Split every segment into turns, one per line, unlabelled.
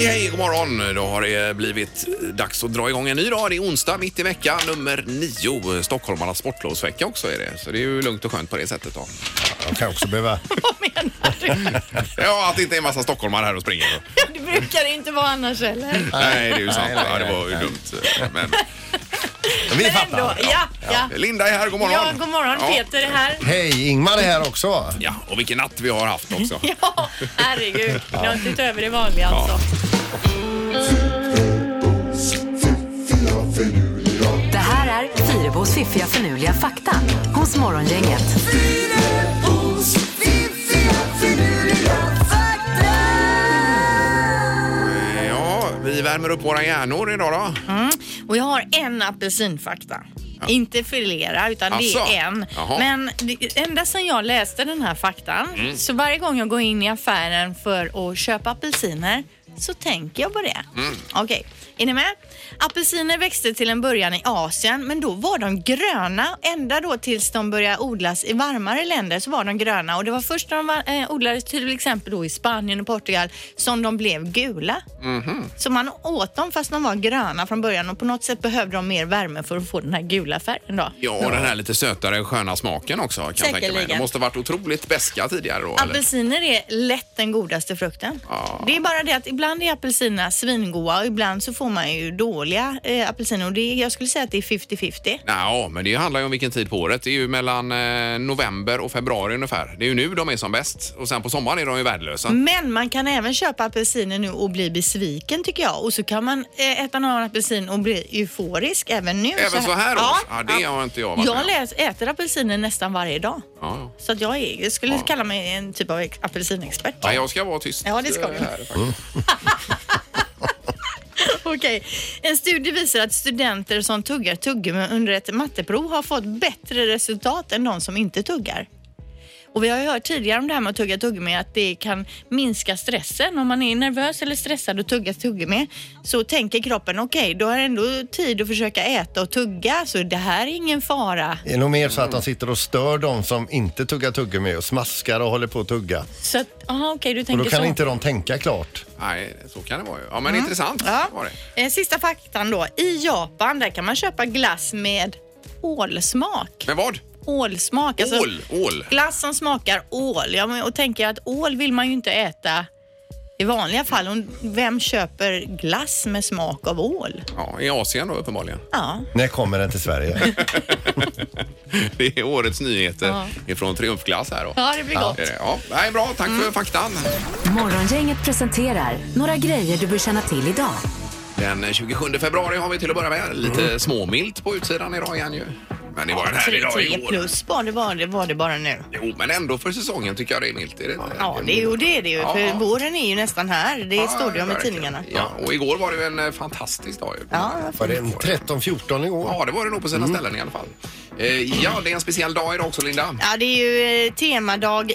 Eh, morgon. Då har det blivit dags att dra igång en ny dag. Det är onsdag mitt i veckan, nummer nio. Stockholmarnas sportlovsvecka också är det. Så det är ju lugnt och skönt på det sättet då.
Jag kan också behöva...
Vad menar du?
Ja, att det inte är en massa stockholmare här och springer.
Det brukar det inte vara annars heller.
Nej, det är ju sant.
Nej, nej,
Ja, det var ju
nej.
dumt. Men
Vi
Men ändå,
fattar.
ja, ja.
Linda är här, god morgon.
Ja, god morgon.
Ja.
Peter är här.
Hej, Ingmar är här också.
Ja, och vilken natt vi har haft också.
Ja, herregud. Ni har inte utöver det vanliga alltså.
Det här är Fyrabos fiffiga förnuliga fakta hos Morgongänget.
Ja, vi värmer upp våra hjärnor idag då.
Och jag har en apelsinfakta. Inte flera, utan
Asså?
det är en.
Jaha. Mm.
Men det, ända sedan jag läste den här faktan, så varje gång jag går in i affären för att köpa apelsiner så tänker jag på det.
Mm.
Okej, är ni med? Apelsiner växte till en början i Asien, men då var de gröna. Ända då tills de började odlas i varmare länder så var de gröna. Och det var först när de var, eh, odlades till exempel då i Spanien och Portugal som de blev gula. Så man åt dem fast de var gröna från början och på något sätt behövde de mer värme för att få den här gula färgen då.
Ja, och den här lite sötare sköna smaken också kan jag tänka mig. De
Säkerligen.
måste ha varit otroligt beska tidigare då. eller?
Apelsiner är lätt den godaste frukten.
Ja.
Det är bara det att ibland är apelsinerna svingoda och ibland så får man ju dåliga eh, apelsiner. Och det, är- jag skulle säga att det är 50-50.
Ja, men det handlar ju om vilken tid på året. Det är ju mellan eh, november och februari ungefär. Det är ju nu de är som bäst och sen på sommaren är de ju värdelösa.
Men man kan även köpa apelsiner nu och bli besviken tycker jag. Och så kan man eh, äta några apelsin och bli euforisk även nu.
Även så här års?
ja,
Ja, det har inte jag varit med
Jag
om.
läs, äter apelsiner nästan varje dag.
Ja, ja.
Så att jag, är, jag skulle kalla mig en typ av ex- apelsinexpert.
Nej, jag ska vara tyst.
Ja, det ska du.
eh, här, faktiskt.
Okej. En studie visar att studenter som tuggar tuggummi under ett matteprov har fått bättre resultat än de som inte tuggar. Och Vi har ju hört tidigare om det här med att tugga tuggummi att det kan minska stressen. Om man är nervös eller stressad och tuggar tuggummi så tänker kroppen okej, då har jag ändå tid att försöka äta och tugga så det här är ingen fara.
Det är nog mer
Mm.
så att de sitter och stör de som inte tuggar tuggummi och smaskar och håller på att tugga.
Så att, aha, okej, du
Och
tänker
då kan
så.
inte de tänka klart.
Nej, så kan det vara ju. Ja, men intressant
Mm. Ja.
var det.
Eh, Sista faktan då. I Japan där kan man köpa glass med ålsmak.
Men vad?
Ålsmak. alltså-
Ål? Ål?
Glass som smakar ål. Ja, men, och tänker att ål vill man ju inte äta i vanliga fall. Och vem köper glass med smak av ål?
Ja, i Asien då uppenbarligen.
Ja,
När kommer den till Sverige?
Det är årets nyheter
Ja.
ifrån Triumfglass här då.
ja Mm. det blir gott.
Det är det. Ja, nej, bra. Tack för faktan.
Morgongänget presenterar några grejer du bör känna till idag.
Den 27 februari har vi till att börja med. Lite
Mm.
småmilt på utsidan idag igen ju. Men det var en härlig dag
Tre
igår.
plus var det, var, det, var det bara nu.
Jo, men ändå för säsongen tycker jag det är milt. Är det inte?
Ja, det, jo, det är det ju.
Ja.
För våren är ju nästan här. Det
Ja,
står det ju om i
verkligen.
tidningarna.
Ja, och igår var det ju en eh, fantastisk dag ju.
Ja,
Var det en Mm. 13-14 igår?
Ja, det var det nog på sina ställen i alla fall. Eh, ja, det är en speciell dag idag också, Linda.
Ja, det är ju eh, temadag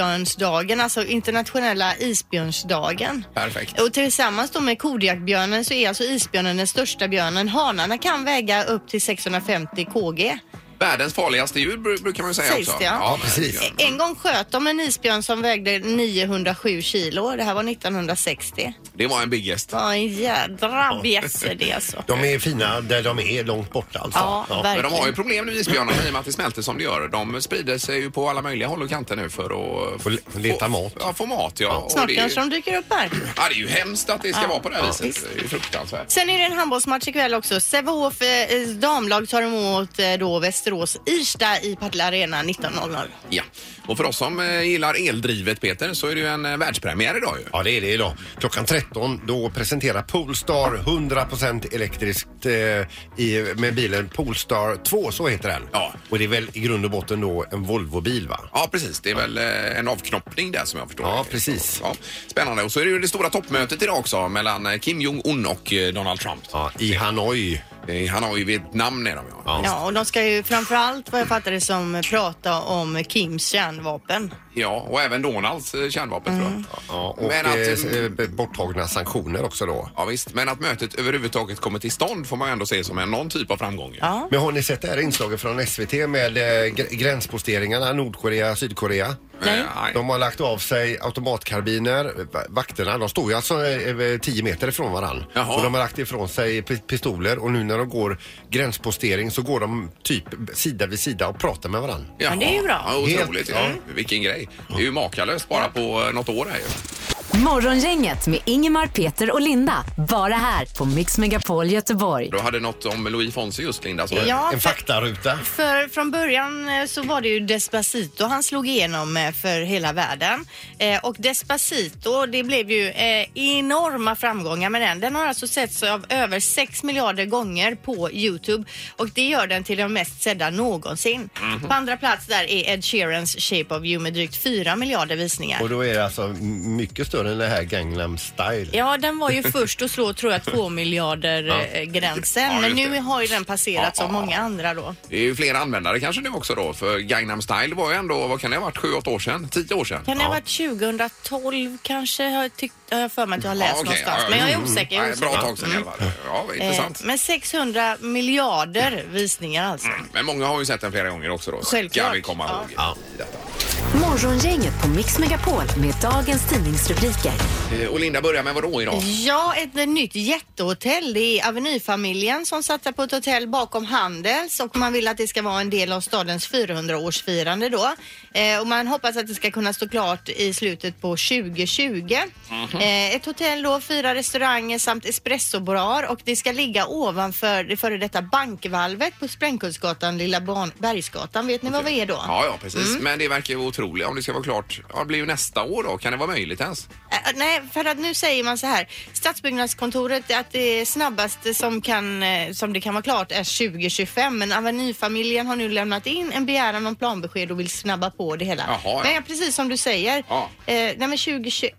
Isbjörnsdagen, alltså internationella isbjörnsdagen.
Perfekt.
Och tillsammans då med kodiakbjörnen så är alltså isbjörnen den största björnen. Hanarna kan väga upp till 650 kg.
Världens farligaste djur bru- brukar man ju säga
Sägs
också.
det, ja.
precis.
verkligen.
En gång sköt de en isbjörn som vägde 907 kilo. Det här var 1960.
Det var en biggest.
Vad en jädra bjässe det alltså.
De är fina där de är, långt borta alltså.
Ja,
Men de
verkligen.
har ju problem nu isbjörnarna i och med att det smälter som det gör. De sprider sig ju på alla möjliga håll och kanter nu för att
Få le- leta
få,
mat.
Ja, få mat ja. Och
Snart
det,
kanske
är ju,
de dyker upp här.
ja, det är ju hemskt att det ska
Ja,
vara på det här
ja,
viset.
visst.
Det är ju fruktansvärt.
Sen är det en handbollsmatch ikväll också. Sävehof eh, damlag tar emot eh, då Västerås Irsta i Partille Arena 19.00.
Ja. Och för oss som eh, gillar eldrivet Peter så är det ju en eh, världspremiär idag ju.
Ja, det är det idag. Klockan 13 då presenterar Polestar 100% elektriskt eh, i, med bilen Polestar 2, så heter den.
Ja.
Och det är väl i grund och botten då en Volvo-bil va?
Ja, precis. Det är väl eh, en avknoppning där som jag förstår.
Ja, precis.
Ja, spännande. Och så är det ju det stora toppmötet idag också mellan eh, Kim Jong-Un och eh, Donald Trump.
Ja, I Hanoi.
Eh, Han har ju Vietnam är de ja.
Ja.
Ja, och de ska ju framförallt, vad jag fattar det som, prata om Kims kärnvapen.
Ja, och även Donalds eh, kärnvapen tror jag.
Mm. Ja, och
Men
Men
att-
eh, borttagna sanktioner också då.
Ja, visst. Men att mötet överhuvudtaget kommer till stånd får man ju ändå se som en, någon typ av framgång. ju.
Ja.
Men har ni sett det här inslaget från SVT med eh, gr- gränsposteringarna Nordkorea, Sydkorea?
Nej.
Eh, nej.
De har lagt av sig automatkarbiner, va- vakterna. De står ju alltså eh, eh, 10 meter ifrån varann.
Jaha.
Och de har lagt ifrån sig pi- pistoler och nu när de går gränspostering så går de typ sida vid sida och pratar med varann.
Jaha.
Men det är ju bra.
Ja, otroligt.
Helt-
Ja. Vilken grej. Det är ju makalöst bara på eh, något år här ju.
Morgongänget med Ingemar, Peter och Linda. Bara här på Mix Megapol Göteborg.
Du hade något om Louis Fonsi just Linda. Så.
Ja,
En
för-
faktaruta.
För från början eh, så var det ju Despacito han slog igenom eh, för hela världen. Eh, Och Despacito, det blev ju eh, enorma framgångar med den. Den har alltså setts av över 6 miljarder gånger på Youtube och det gör den till den mest sedda någonsin. På andra plats där är Ed Sheerans Shape of You med drygt 4 miljarder visningar.
Och då är det alltså m- mycket större än det här Gangnam style.
Ja, den var ju först att slå tror jag 2 miljarder eh, gränsen.
Ja,
Men
just
nu
det.
har ju den passerats
Ja,
av
ja,
många andra då.
Det är ju flera användare kanske nu också då. För Gangnam Style var ju ändå, vad kan det ha varit, 7-8 år sedan? 10 år sedan?
Kan det ha varit 2012 kanske? Har jag, tyckt, har jag för mig att jag har läst
Ja, okej.
någonstans.
Ja,
Men jag är
mm.
osäker. Jag är
Nej, Bra
osäker.
tag sedan i alla fall. Ja, intressant.
Eh, men 600 miljarder visningar alltså.
Men många har ju sett den flera gånger också då. Ska
Självklart.
vi komma
Ja.
ihåg. i detta.
Morgongänget på Mix Megapol med dagens tidningsrubriker.
Eh, Och Linda börjar med vad då idag?
Ja, ett nytt jättehotell. Det är Avenyfamiljen som satsar på ett hotell bakom Handels och man vill att det ska vara en del av stadens 400-årsfirande då. Eh, och man hoppas att det ska kunna stå klart i slutet på 2020. eh, ett hotell då, fyra restauranger samt espressobarar och det ska ligga ovanför det före detta bankvalvet på Sprängkullsgatan, Lilla Ban- Bergsgatan. Vet ni vad det är då?
Ja, ja, precis.
Mm.
Men det verkar ju otroligt. Om det ska vara klart, ja, det blir ju nästa år då. Kan det vara möjligt ens?
Äh, Nej, för att nu säger man så här. Stadsbyggnadskontoret, att det snabbaste som, kan, eh, som det kan vara klart är 2025. Men Avenyfamiljen har nu lämnat in en begäran om planbesked och vill snabba på det hela.
Jaha, ja.
Nej, precis som du säger.
Ja.
Eh, nej, men 2021,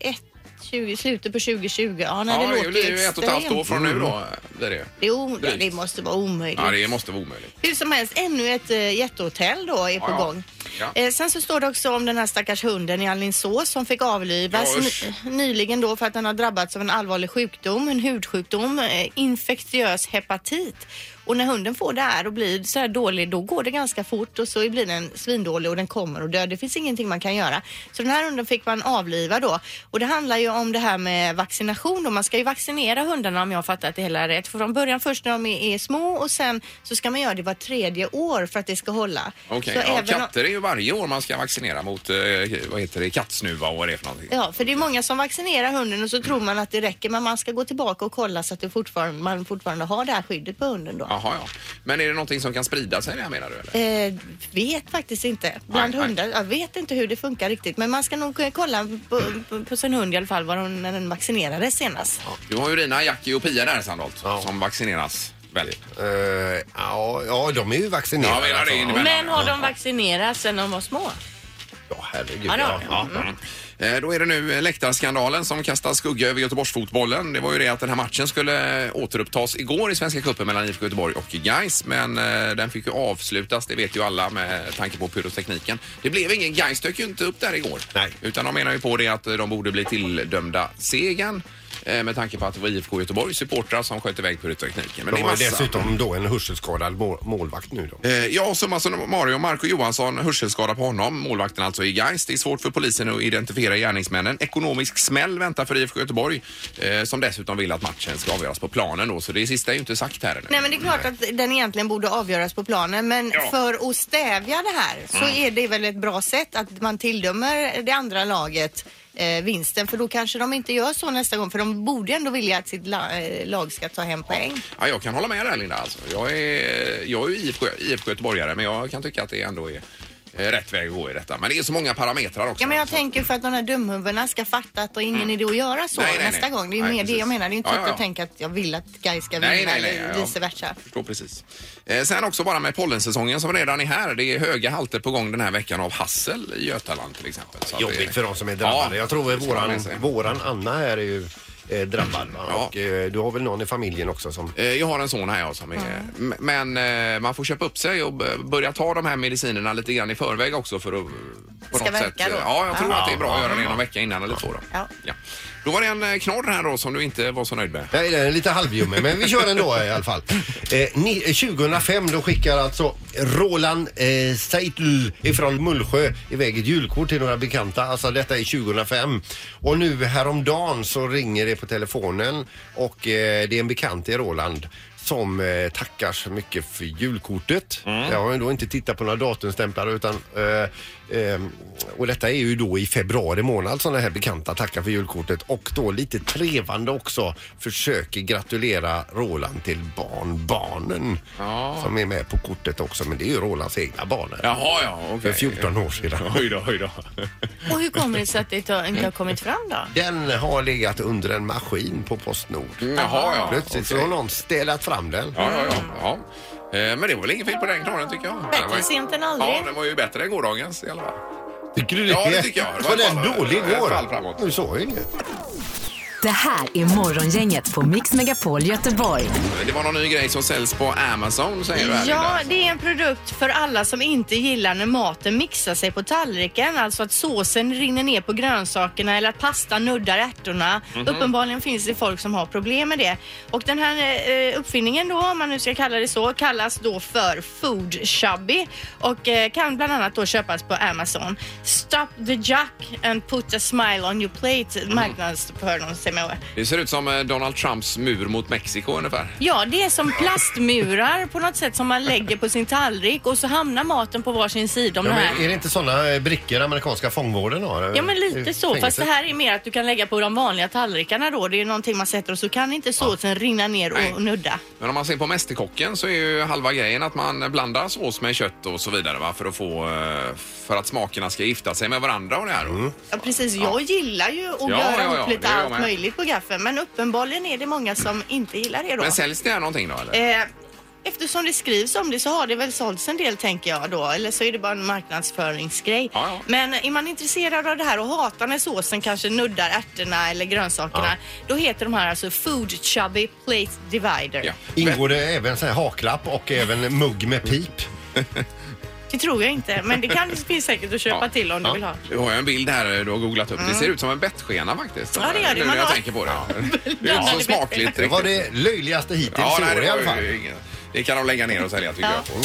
20, slutet på 2020. Ja, nej,
ja,
det, låter
blir ju ett och ett halvt år
extremt.
från
Mm.
nu då. Det är det.
Det, är o-
Drygt.
det måste vara omöjligt.
Ja, det måste vara omöjligt.
Hur som helst, ännu ett eh, jättehotell då är på
Ja, ja.
gång.
Ja.
Eh, sen så står det också om den här stackars hunden i Alingsås som fick avlivas
Ja, usch.
ny- nyligen då för att den har drabbats av en allvarlig sjukdom, en hudsjukdom, eh, infektiös hepatit. Och när hunden får det här och blir så här dålig, då går det ganska fort och så blir den svindålig och den kommer och dör. Det finns ingenting man kan göra. Så den här hunden fick man avliva då. Och det handlar ju om det här med vaccination då. Man ska ju vaccinera hundarna om jag har fattat det hela rätt. Från början först när de är, är små och sen så ska man göra det var tredje år för att det ska hålla.
Okej,
Så
ja,
även om-
katter är ju varje år man ska vaccinera mot, eh, vad heter det, kattsnuva och vad det är för någonting.
Ja, för det är många som vaccinerar hunden och så tror man att det räcker men man ska gå tillbaka och kolla så att det fortfarande, man fortfarande har det här skyddet på hunden då.
Jaha, ja. Men är det någonting som kan sprida sig det här menar du? Eller?
Eh, vet faktiskt inte. Bland
Nej, nej.
hundar, jag vet inte hur det funkar riktigt men man ska nog eh, kolla på, på, på sin hund i alla fall var hon, när den vaccinerades senast.
Du har ju Rina, Jackie och Pia där Sandholt
Ja.
som vaccineras väl?
Eh, ja, ja, de är ju vaccinerade.
Ja, menar det
alltså.
innebär- Men har
de vaccinerats sen de var små?
ja herregud.
Ja, det har Mm.
Ja,
de.
ja.
Eh, Då är det nu eh, läktarskandalen som kastar skugga över Göteborgsfotbollen. Det var ju det att den här matchen skulle eh, återupptas igår i Svenska cupen mellan IFK Göteborg och Gais, men eh, den fick ju avslutas, det vet ju alla med tanke på pyrotekniken. Det blev ingen, Gais dök ju inte upp där igår.
Nej.
Utan de menar ju på det att eh, de borde bli tilldömda segern eh, med tanke på att det var IFK Göteborgs supportrar som sköt iväg pyrotekniken. Men
De har ju
massa-
dessutom då en hörselskadad må- målvakt nu då.
Eh, Ja, summa summarum. Marco Johansson, hörselskada på honom. Målvakten alltså i Gais. Det är svårt för polisen att identifiera gärningsmännen. Ekonomisk smäll väntar för IFK Göteborg eh, som dessutom vill att matchen ska avgöras på planen då. Så det sista är ju inte sagt här ännu.
Nej men det är klart att den egentligen borde avgöras på planen men
Ja. Mm.
för att stävja det här så är det väl ett bra sätt att man tilldömer det andra laget eh, vinsten för då kanske de inte gör så nästa gång för de borde ändå vilja att sitt la, eh, lag ska ta hem poäng.
Ja, jag kan hålla med där Linda alltså. Jag är, jag är ju IFK, IFK Göteborgare men jag kan tycka att det ändå är eh, rätt väg att gå i detta. Men det är så många parametrar också.
Ja men jag tänker för att de här dumhuvudena ska fatta att det är ingen idé att göra så
Mm. Nej, nej, nej.
nästa gång. Det är
Nej,
mer det
precis.
jag menar. Det är inte
Ja,
så att
ja, ja.
jag tänker att jag vill att Gais ska vinna
Nej, nej, nej,
eller
ja.
vice versa.
förstår precis. Eh, sen också bara med pollensäsongen som redan är här. Det är höga halter på gång den här veckan av hassel i Götaland till exempel. Så att
Jobbigt
det-
för de som är drabbade. jag tror
det
att
ska man
våran,
med sig.
våran Anna här är ju eh, drabbad. Va?
Ja.
Och, eh, du har väl någon i familjen också som...
Eh, Jag har en son här jag som är... M-
Mm.
Men eh, man får köpa upp sig och b- börja ta de här medicinerna lite grann i förväg också för att... eh, På
Ska verka då?
eh, Ja, jag tror
Ja.
att det är bra att göra det någon vecka innan eller två då.
Ja.
Då var det en eh, knorr här då som du inte var så nöjd med.
Nej, den är lite halvljummen, men vi kör ändå i alla fall. Eh, ni, eh, 2005 då skickar alltså Roland eh, Seitl ifrån Mullsjö iväg ett julkort till några bekanta. Alltså detta är 2005. Och nu häromdagen så ringer det på telefonen och eh, det är en bekant i Roland som eh, tackar så mycket för julkortet. Jag har ju då inte tittat på några datumstämplar utan eh, eh, och detta är ju då i februari månad som den här bekanta tackar för julkortet och då lite trevande också försöker gratulera Roland till barnbarnen
Ja.
som är med på kortet också men det är ju Rolands egna barn.
Jaha, ja.
För
okej.
14 år sedan.
Oj då, oj då.
Och hur kommer det sig att det inte har- inte har kommit fram då?
Den har legat under en maskin på Postnord.
Jaha, Mm. ja.
Plötsligt så
okej.
har någon städat fram den.
Ja, ja, ja. ja. Eh, Men det var väl inget fel på den knorren tycker jag.
Bättre
Den var ju-
sent än aldrig.
Ja, den var ju bättre än gårdagens i alla fall.
Tycker du det?
Ja, det tycker jag. Det var
Var
ett fall-
den dålig
ett
igår?
fall framåt.
Du sa ju inget.
Det här är Morgongänget på Mix Megapol Göteborg.
Eh, Det var någon ny grej som säljs på Amazon säger du här,
Ja,
Linda.
det är en produkt för alla som inte gillar när maten mixar sig på tallriken. Alltså att såsen rinner ner på grönsakerna eller att pastan nuddar ärtorna.
Mhm.
Uppenbarligen finns det folk som har problem med det. Och den här eh, uppfinningen då, om man nu ska kalla det så, kallas då för Food Chubby och eh, kan bland annat då köpas på Amazon. Stop the jack and put a smile on your plate
Mhm.
marknadsför de sig med.
Det ser ut som eh, Donald Trumps mur mot Mexiko ungefär.
Ja, det är som plastmurar på något sätt som man lägger på sin tallrik och så hamnar maten på varsin sida om
Ja,
det
men är
här.
det inte sådana brickor amerikanska fångvården har? Eh,
Ja men
I
lite så,
fängelset?
fast det här är mer att du kan lägga på de vanliga tallrikarna då. Det är någonting man sätter och så kan inte såsen rinna ner och
Nej.
nudda.
Men om man ser på Mästerkocken så är ju halva grejen att man blandar sås med kött och så vidare va? för att få eh, för att smakerna ska gifta sig med varandra och det här.
Ja precis, jag gillar ju att
Ja,
göra
ja, ja,
ihop
det
lite
gör jag
allt
med.
möjligt på gaffeln men uppenbarligen är det många som inte gillar det då.
Men säljs det här någonting då eller?
Eh, Eftersom det skrivs om det så har det väl sålts en del tänker jag då. Eller så är det bara en marknadsföringsgrej.
Ja, ja.
Men är man intresserad av det här och hatar när såsen kanske nuddar ärtorna eller grönsakerna. Då heter de här alltså Food Chubby Plate Divider.
Ja.
Ingår det även så här haklapp och även mugg med pip?
Det tror jag inte, men det kan det finns säkert att köpa
Ja.
till om du vill ha. Mm.
Du har ju en bild här eh, du har googlat upp. Det ser ut som en bettskena faktiskt.
Ja, det gör det.
Nu när
Man
jag
har-
tänker på det. Det är
Ja.
inte så smakligt
Det
riktigt.
var det löjligaste hittills
Ja,
i
nej,
år i
det,
alla
var
fall.
ju ingen- det kan de lägga ner och sälja tycker
Ja.
jag.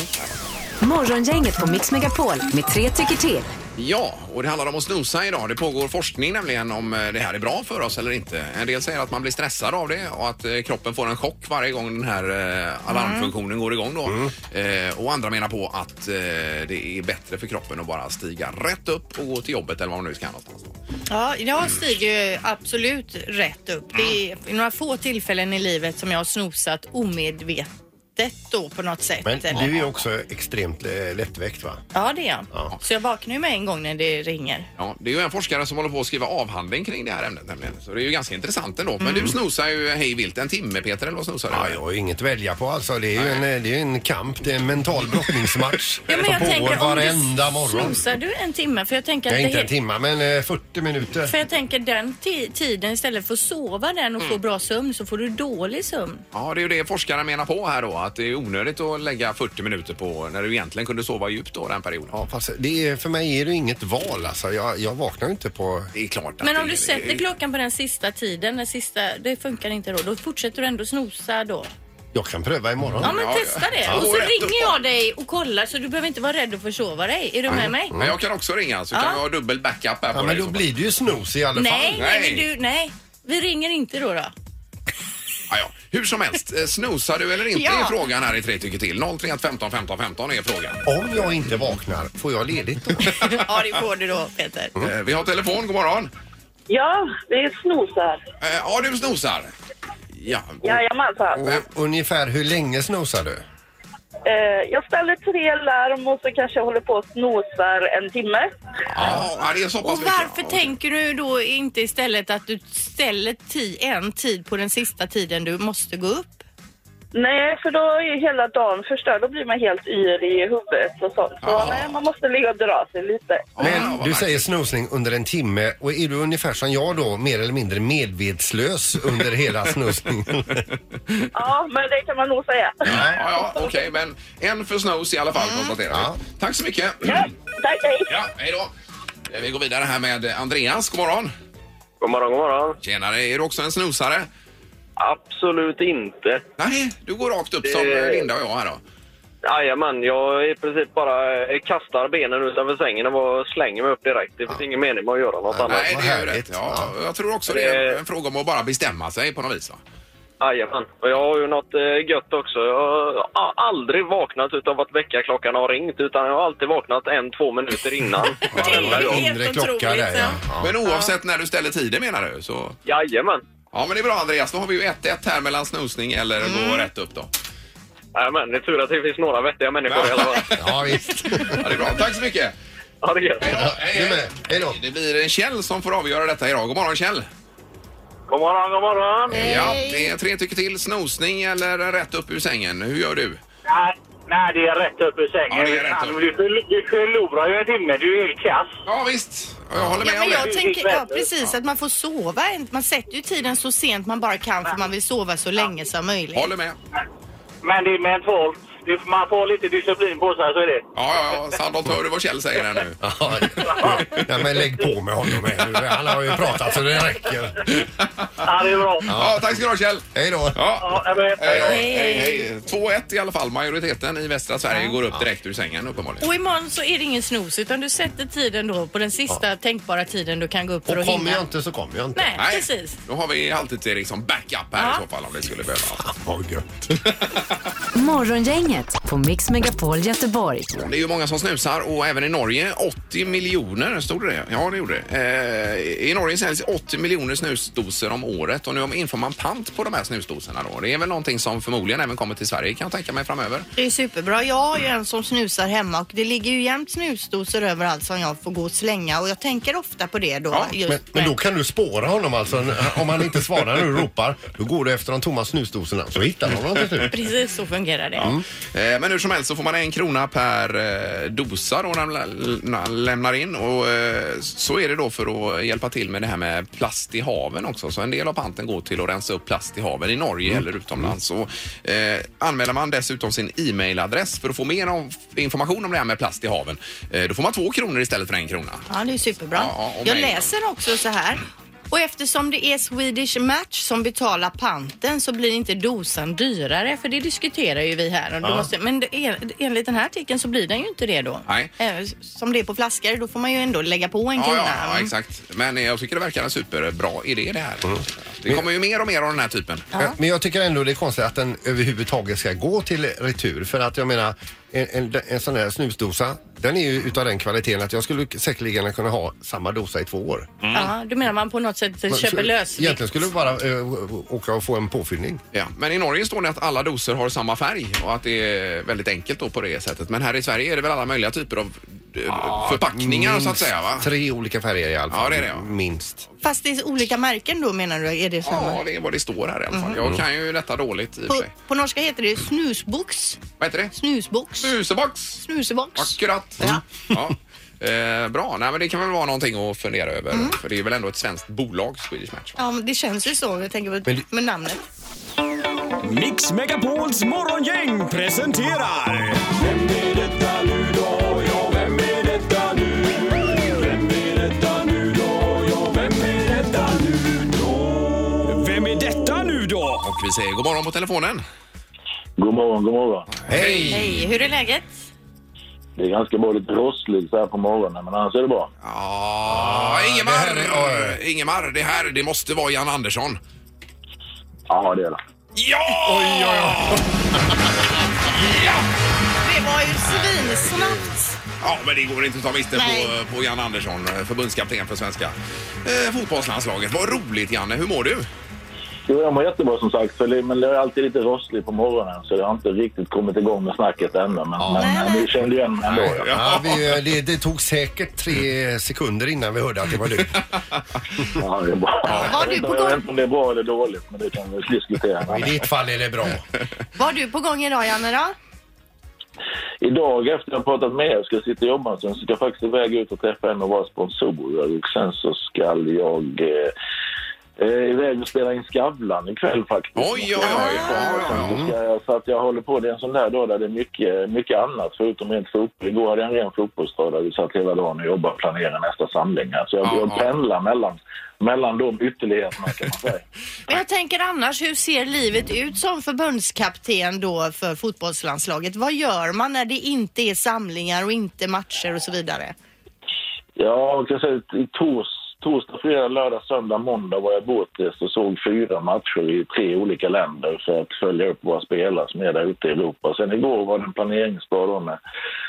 Mm.
Morgongänget på Mix Megapol med tre tycker till.
Ja, och det handlar om att snosa idag. Det pågår forskning nämligen om eh, det här är bra för oss eller inte. En del säger att man blir stressad av det och att eh, kroppen får en chock varje gång den här eh, alarmfunktionen går igång då.
Mm.
Eh, och andra menar på att eh, det är bättre för kroppen att bara stiga rätt upp och gå till jobbet eller vad man nu ska någonstans. då.
Ja, jag stiger ju absolut rätt upp. Det
Mm.
är några få tillfällen i livet som jag har snosat omedvetet då på något sätt.
Men du är också extremt eh, lättväckt va?
Ja, det är jag.
Ja.
Så jag vaknar ju med en gång när det ringer.
Ja, det är ju en forskare som håller på att skriva avhandling kring det här ämnet nämligen. Så det är ju ganska intressant ändå. Men
Mm.
du snosar ju hej vilt en timme Peter eller vad snosar du?
Ja, jag har ju inget att välja på alltså. Det är ju en, eh, det är ju en kamp, det är en mental brottningsmatch
Ja, men
som
jag
pågår
tänker om
varenda
du
morgon.
snosar du en timme för jag tänker
Ja,
att
inte
det
en timme, men eh, 40 minuter.
för jag tänker den ti- tiden istället för att sova den och få bra sömn så får du dålig sömn.
Ja, det är ju det forskarna menar på här då, att det är onödigt att lägga 40 minuter på när du egentligen kunde sova djupt då den perioden.
Ja, fast det är, för mig är det ju inget val alltså. Jag, jag vaknar ju inte på...
Det är klart att
Men om
det,
du sätter klockan på den sista tiden, den sista, det funkar inte då, då fortsätter du ändå snosa då.
Jag kan pröva imorgon.
Ja men
Ja,
testa det
ja.
och så
Ja, rätt
ringer
upp.
jag dig och kollar så du behöver inte vara rädd att försova dig. Är du med mig?
Men jag kan också ringa så kan
Ja.
vi ha dubbel backup här
Ja,
på
men
dig.
då blir det ju snus i alla fall.
Nej, nej,
Nej.
men du, nej. Vi ringer inte då då.
ja, ja. Hur som helst, eh, snosar du eller inte
Ja.
är frågan här i Tre tycker till. 031 15 15 15 är frågan.
Om jag inte vaknar, får jag ledigt då?
Ja det får du då Peter.
Mm.
Eh, Vi har telefon, god morgon.
Ja, det är snosar.
Eh, Ja, du snosar. Ja.
Jajamensan.
Mm.
Och eh, ungefär hur länge snosar du?
Eh, jag ställer tre larm och så kanske jag håller på och snosar en timme.
Ja, ja, det är så pass
Och
mycket.
varför
Ja, okej.
tänker du då inte istället att du ställer ti- en tid på den sista tiden du måste gå upp?
Nej, för då är hela dagen förstörd. Då blir man helt yr i huvudet och sånt. Så
Ja.
nej, man måste ligga och dra sig lite.
Ja, ja,
Men
vad
du
märkligt.
säger snosning under en timme och är du ungefär som jag då, mer eller mindre medvetslös under hela snosningen?
Ja, men det kan man nog säga.
Ja, ja, okej, men en för snooze i alla fall konstaterar vi.
Ja.
Tack så mycket.
Ja, tack, hej.
Ja, hej då. Eh, Vi går vidare här med Andreas, god eh, morgon.
God morgon, god morgon.
Tjenare, är du också en snosare?
Absolut inte.
Nej, du går rakt upp som
Det-
eh, Linda och jag här då.
Jajamän, jag i princip bara eh, kastar benen utanför sängen och bara slänger mig upp direkt. Det finns ingen mening med att göra något annat.
Nej, det är ju
härligt.
rätt. Ja, jag tror också det är
Det-
en fråga om att bara bestämma sig på något vis. Va?
Jajamän. Och jag har ju något eh, gött också. Jag har aldrig vaknat utav att väckarklockan har ringt utan jag har alltid vaknat en, två minuter innan.
Det är helt
Inre
otroligt,
klocka där, ja.
ja.
ja.
Men oavsett när du ställer tiden menar du? Så...
Jajamän.
Ja, men det är bra Andreas. Då har vi ju 1-1 här mellan snosning eller gå rätt upp då.
Jajamän, det är tur att det finns några vettiga människor i alla fall.
Ja, visst.
Ja, det är bra. Tack så mycket.
Ha det gött.
Du med. Hej då.
Det blir eh, Kjell som får avgöra detta idag. God morgon Kjell!
God morgon, god morgon.
Ja, det är tre tycker till. Snosning eller rätt upp ur sängen. Hur gör du?
Nej, nej, det är rätt upp ur sängen.
Ja, det är rätt
Fan,
upp.
Du, förl- du förlorar ju en timme, du är helt kass.
Ja, visst. Ja, Jag håller
Ja,
med om
men jag
det.
tänker, ja, precis, att man får sova. Man sätter ju tiden så sent man bara kan för man vill sova så länge som möjligt.
Håller med.
Men det är mentalt. Du, man får lite disciplin på sig, så är det.
Ja, ja, ja. Sandholt, hör du vad Kjell säger här nu?
Ja, ja, men lägg på med honom här nu. Han har ju pratat så det räcker.
Ja, det är bra.
Ja, tack ska du ha Kjell!
Hej då.
Ja.
Ja, jag vet.
Hej, hej, hej. 2-1 i alla fall. Majoriteten i västra Sverige går upp direkt ur sängen uppenbarligen.
Och imorgon så är det ingen snooze utan du sätter tiden då på den sista tänkbara tiden du kan gå upp för
Och
att
kommer
hinna.
jag inte så kommer jag inte.
Nej, precis.
Då har vi alltid Erik som backup här
Ja.
i så fall om det skulle behövas.
Vad gött.
Morgongänget på Mix Megapol Göteborg.
Det är ju många som snusar och även i Norge 80 miljoner, stod det det Ja, det gjorde det. Eh, I Norge säljs 80 miljoner snusdoser om året och nu inför man pant på de här snusdoserna då. Det är väl någonting som förmodligen även kommer till Sverige kan jag tänka mig framöver.
Det är superbra. Jag har ju en som snusar hemma och det ligger ju jämt snusdosor överallt som jag får gå och slänga och jag tänker ofta på det då.
Ja,
just
Men, men då
med-
kan du spåra honom alltså. Om han inte svarar när du ropar, då går du efter de tomma snusdosorna. Så hittar du honom till slut.
Precis så fungerar det.
Eh, men hur som helst så får man en krona per eh, dosa då när man lä- när man lämnar in och eh, så är det då för att hjälpa till med det här med plast i haven också. Så en del av panten går till att rensa upp plast i haven i Norge eller utomlands. Och, eh, anmäler man dessutom sin e-mailadress för att få mer om- information om det här med plast i haven, eh, då får man två kronor istället för en krona.
Ja, det är superbra.
Ja, och
jag
mig då.
läser också så här. Och eftersom det är Swedish Match som betalar panten så blir inte dosan dyrare för det diskuterar ju vi här. Och då måste, men det är, enligt den här artikeln så blir den ju inte det då.
Nej.
Eh, Som det är på flaskor då får man ju ändå lägga på en
Ja,
krona. Mm.
ja, ja, Mm. exakt. Men eh, jag tycker det verkar en superbra idé det här. Det kommer ju mer och mer av den här typen.
Eh, Men- Men jag tycker ändå det är konstigt att den överhuvudtaget ska gå till retur. För att jag menar, en, en, en sån här snusdosa, den är ju utav den kvaliteten att jag skulle säkerligen kunna ha samma dosa i två år.
Ja, du menar man på något sätt
Men
köper
så-
lösvikt?
Egentligen skulle du bara eh, åka och få en påfyllning.
Ja, men i Norge står det att alla doser har samma färg och att det är väldigt enkelt då på det sättet. Men här i Sverige är det väl alla möjliga typer av eh, förpackningar så att
Minst
säga va?
Tre olika färger i alla
Ja,
fall.
det är det, ja.
Minst.
Fast det är olika märken då menar du? Är det samma?
Ja, det är vad det står här i alla
Mm-hmm.
fall.
Mm.
Jag kan ju detta dåligt i och för
på,
sig.
på norska heter det snusbox.
Vad heter det?
Snusbox.
Mm. Snusebox!
Snusebox.
Akkurat! Ja. Eh, bra, Nej, men det kan väl vara någonting att fundera över.
Mm.
För det är väl ändå ett svenskt bolag, Swedish Match.
Ja, men det känns ju så. Jag tänker på
Men det-
med namnet.
Mm.
Mix Megapols morgongäng presenterar... Vem är detta nu då? Ja, vem är detta nu? Vem är detta nu då? Ja, vem är detta nu då? Vem är detta nu då?
Och vi säger god morgon på telefonen.
God morgon, god morgon.
Hej!
Hej, hur är läget?
Det är ganska bra lite rossligt så här på morgonen, men annars är det bra.
Ja, Ingemar!
Ah, det här är-
Eh, Ingemar, det här det måste vara Jan Andersson.
Ja, det är det.
Ja!
Det var ju svinsnabbt.
Ja, men det går inte att ta miste
Nej.
på, på Jan Andersson, förbundskapten för svenska eh, fotbollslandslaget. Vad roligt, Janne. Hur mår du?
Jo, jag mår jättebra som sagt, för det, men det är alltid lite rossligt på morgonen så jag har inte riktigt kommit igång med snacket ännu. Men,
Nej,
men
nej.
ni kände igen mig ändå. Ja.
Ja, vi, eh, det, det tog säkert tre sekunder innan vi hörde att det var du.
Ja, det är bra.
Var
jag,
du
vet,
på
inte- jag vet
gång?
inte om det är bra eller dåligt, men det kan vi diskutera.
I ditt fall är det bra.
Var du på gång idag, Janne? Då?
Idag efter jag har pratat med er, ska jag sitta och jobba en stund, så ska jag faktiskt iväg ut och träffa en av våra sponsorer och sen så ska jag eh, eh, iväg och spela in Skavlan ikväll faktiskt.
Oj, oj, oj. Ja, ja, ja.
Så ska jag- Så att jag håller på. Det är en sån där dag där det är mycket, mycket annat förutom rent fotboll. Igår hade jag en ren fotbollsdag där vi satt hela dagen och jobbade och planerade nästa samling. här. Så jag,
Ja,
jag
ja.
pendlar mellan, mellan de ytterligheterna kan man säga.
Men jag tänker annars, hur ser livet ut som förbundskapten då för fotbollslandslaget? Vad gör man när det inte är samlingar och inte matcher och så vidare?
Ja, och jag säger, att i tors, torsdag, fredag, lördag, söndag, måndag var jag bortrest och såg fyra matcher i tre olika länder för att följa upp våra spelare som är där ute i Europa. Sen igår var det en planeringsdag då med,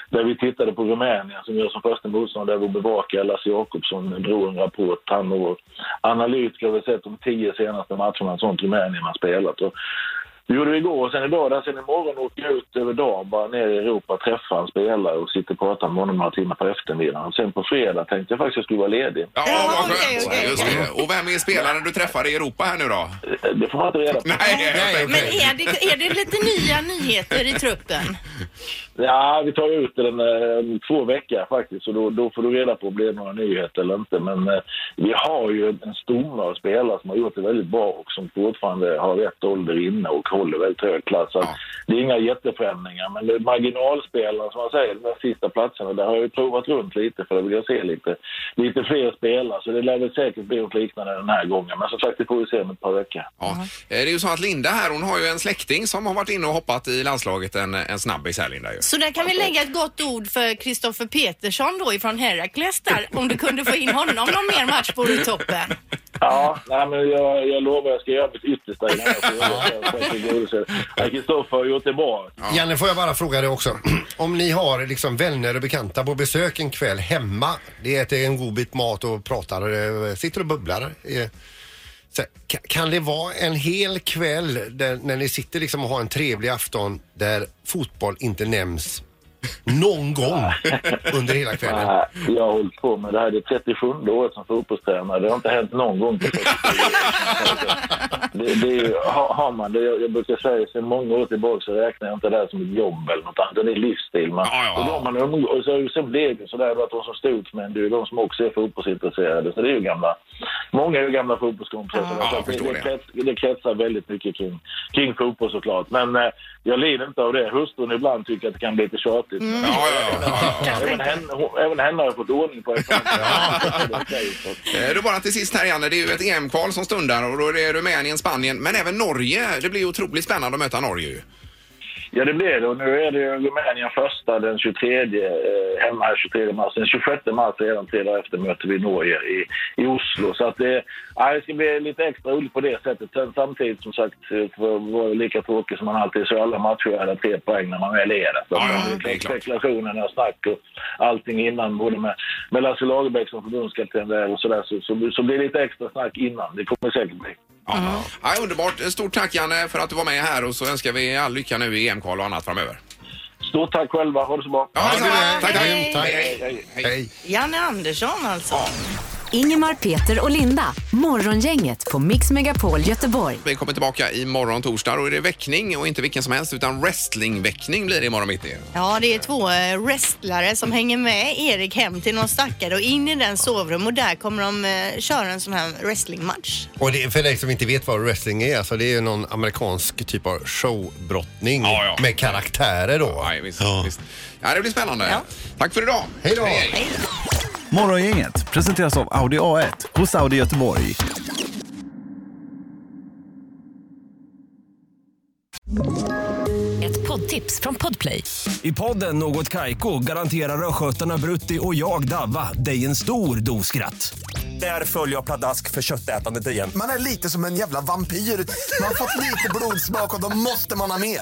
där vi tittade på Rumänien som gör som första motståndare. Där vår bevakare Lasse Jakobsson drog en rapport. Han och vår analytiker har sett de tio senaste matcherna som Rumänien har spelat. Och det gjorde vi igår och sen idag. Där sen imorgon åker jag ut över dagen bara ner i Europa, träffar en spelare och sitter och pratar med honom några timmar på eftermiddagen. Och sen på fredag tänkte jag faktiskt att jag skulle vara ledig.
Ja,
Ja,
vad
okej,
skönt.
okej.
Just det. Och vem är spelaren du träffar i Europa här nu då?
Eh, Det får man inte reda på.
Nej, jag
Men
tänkte-
är det, är det lite nya nyheter i truppen?
Ja, vi tar ut den eh, om två veckor faktiskt. Så då, då får du reda på om det är några nyheter eller inte. Men eh, vi har ju en stomme av spelare som har gjort det väldigt bra och som fortfarande har rätt ålder inne och håller väldigt hög klass. Så att
Ja.
Det är inga jätteförändringar, men det är marginalspelarna som man säger, de där sista platserna. Där har jag ju provat runt lite för att vilja se lite, lite fler spelare. Så det lär väl säkert bli något liknande den här gången. Men som sagt, det får vi se om ett par veckor.
Ja. Eh, Det är ju så att Linda här, hon har ju en släkting som har varit inne och hoppat i landslaget en, en snabbis här Linda ju.
Så där kan vi lägga ett gott ord för Kristoffer Petersson då ifrån Herakles där. Om du kunde få in honom någon mer match vore toppen.
Ja, nej, men jag, jag lovar jag ska göra mitt yttersta i den här frågan. för att tillgodose det. Nej, Kristoffer har gjort det bra.
Janne, får jag bara fråga dig också. Om ni har liksom vänner och bekanta på besök en kväll hemma. Det äter en god bit mat och pratar, eh, sitter och bubblar. eh, Så, ka- kan det vara en hel kväll där, när ni sitter liksom och har en trevlig afton där fotboll inte nämns någon gång under hela kvällen?
Nej, jag har hållit på med det här. Det är 37 året som fotbollstränare. Det har inte hänt någon gång på 47 år. det, det är, ju- har har man det, jag, jag brukar säga sedan många år tillbaka så räknar jag inte det här som ett jobb eller något annat. Det är livsstil. Man,
Ja, ja.
Och då har man umgå- och så, sen blev det så där då att de som stod ut med en, det är ju de som också är fotbollsintresserade. Så det är ju gamla, många är ju gamla fotbollskompisar. Så
Ja, jag
det,
förstår
det,
det.
krets- det kretsar väldigt mycket kring, kring fotboll såklart. Men eh, jag lider inte av det. Hustrun ibland tycker att det kan bli lite tjatigt. Men-
Mm.
Ja, ja, ja, ja, ja.
Även henne, hon- även henne har jag fått ordning på. efter-
Eh, Då bara till sist här Janne, det är ju ett EM-kval som stundar och då är det Rumänien, Spanien men även Norge. Det blir ju otroligt spännande att möta Norge ju.
Ja, det blir det. Och nu är det ju Rumänien första den 23, eh, hemma här 23 mars. Den 26 mars redan tre dagar efter möter vi Norge i, i Oslo. Så att det, ja, det ska bli lite extra roligt på det sättet. Sen samtidigt som sagt, eh, för att vara lika tråkig som man alltid är, så är alla matcher värda tre poäng när man väl är där. Så
Ja,
att
ja,
det är
klart.
klart, spekulationerna och snack och allting innan, både med, med Lasse Lagerbäck som förbundskapten där och sådär, så, så, så blir det lite extra snack innan. Det kommer säkert bli.
Ja.
Mm.
Ja, underbart. Eh, Stort tack Janne för att du var med här och så önskar vi all lycka nu i EM-kval och annat framöver.
Stort tack själva, ha det så bra.
Ja, detsamma.
det.
tack, tack.
Hej.
Hej, hej, hej.
Hej.
Janne Andersson alltså.
Ingemar, Peter och Linda. Morgongänget på Mix Megapol Göteborg.
Vi kommer tillbaka imorgon torsdag och är det väckning och inte vilken som helst utan wrestlingväckning blir det imorgon mitt i.
Ja, det är två eh, wrestlare som hänger med Erik hem till någon stackare och in i den sovrum och där kommer de eh, köra en sån här wrestlingmatch.
Och det, för dig som inte vet vad wrestling är, alltså det är ju någon amerikansk typ av showbrottning
Ja, ja.
med karaktärer då.
Nej, visst, visst. Ja, det blir spännande.
Ja.
Tack för idag.
Hej då.
Morgongänget presenteras av Audi A1 hos Audi Göteborg.
Ett poddtips från Podplay.
I podden Något Kaiko garanterar östgötarna Brutti och jag, Davva, dig en stor dos skratt. Där följer jag pladask för köttätandet igen.
Man är lite som en jävla vampyr. Man har fått lite blodsmak och då måste man ha mer.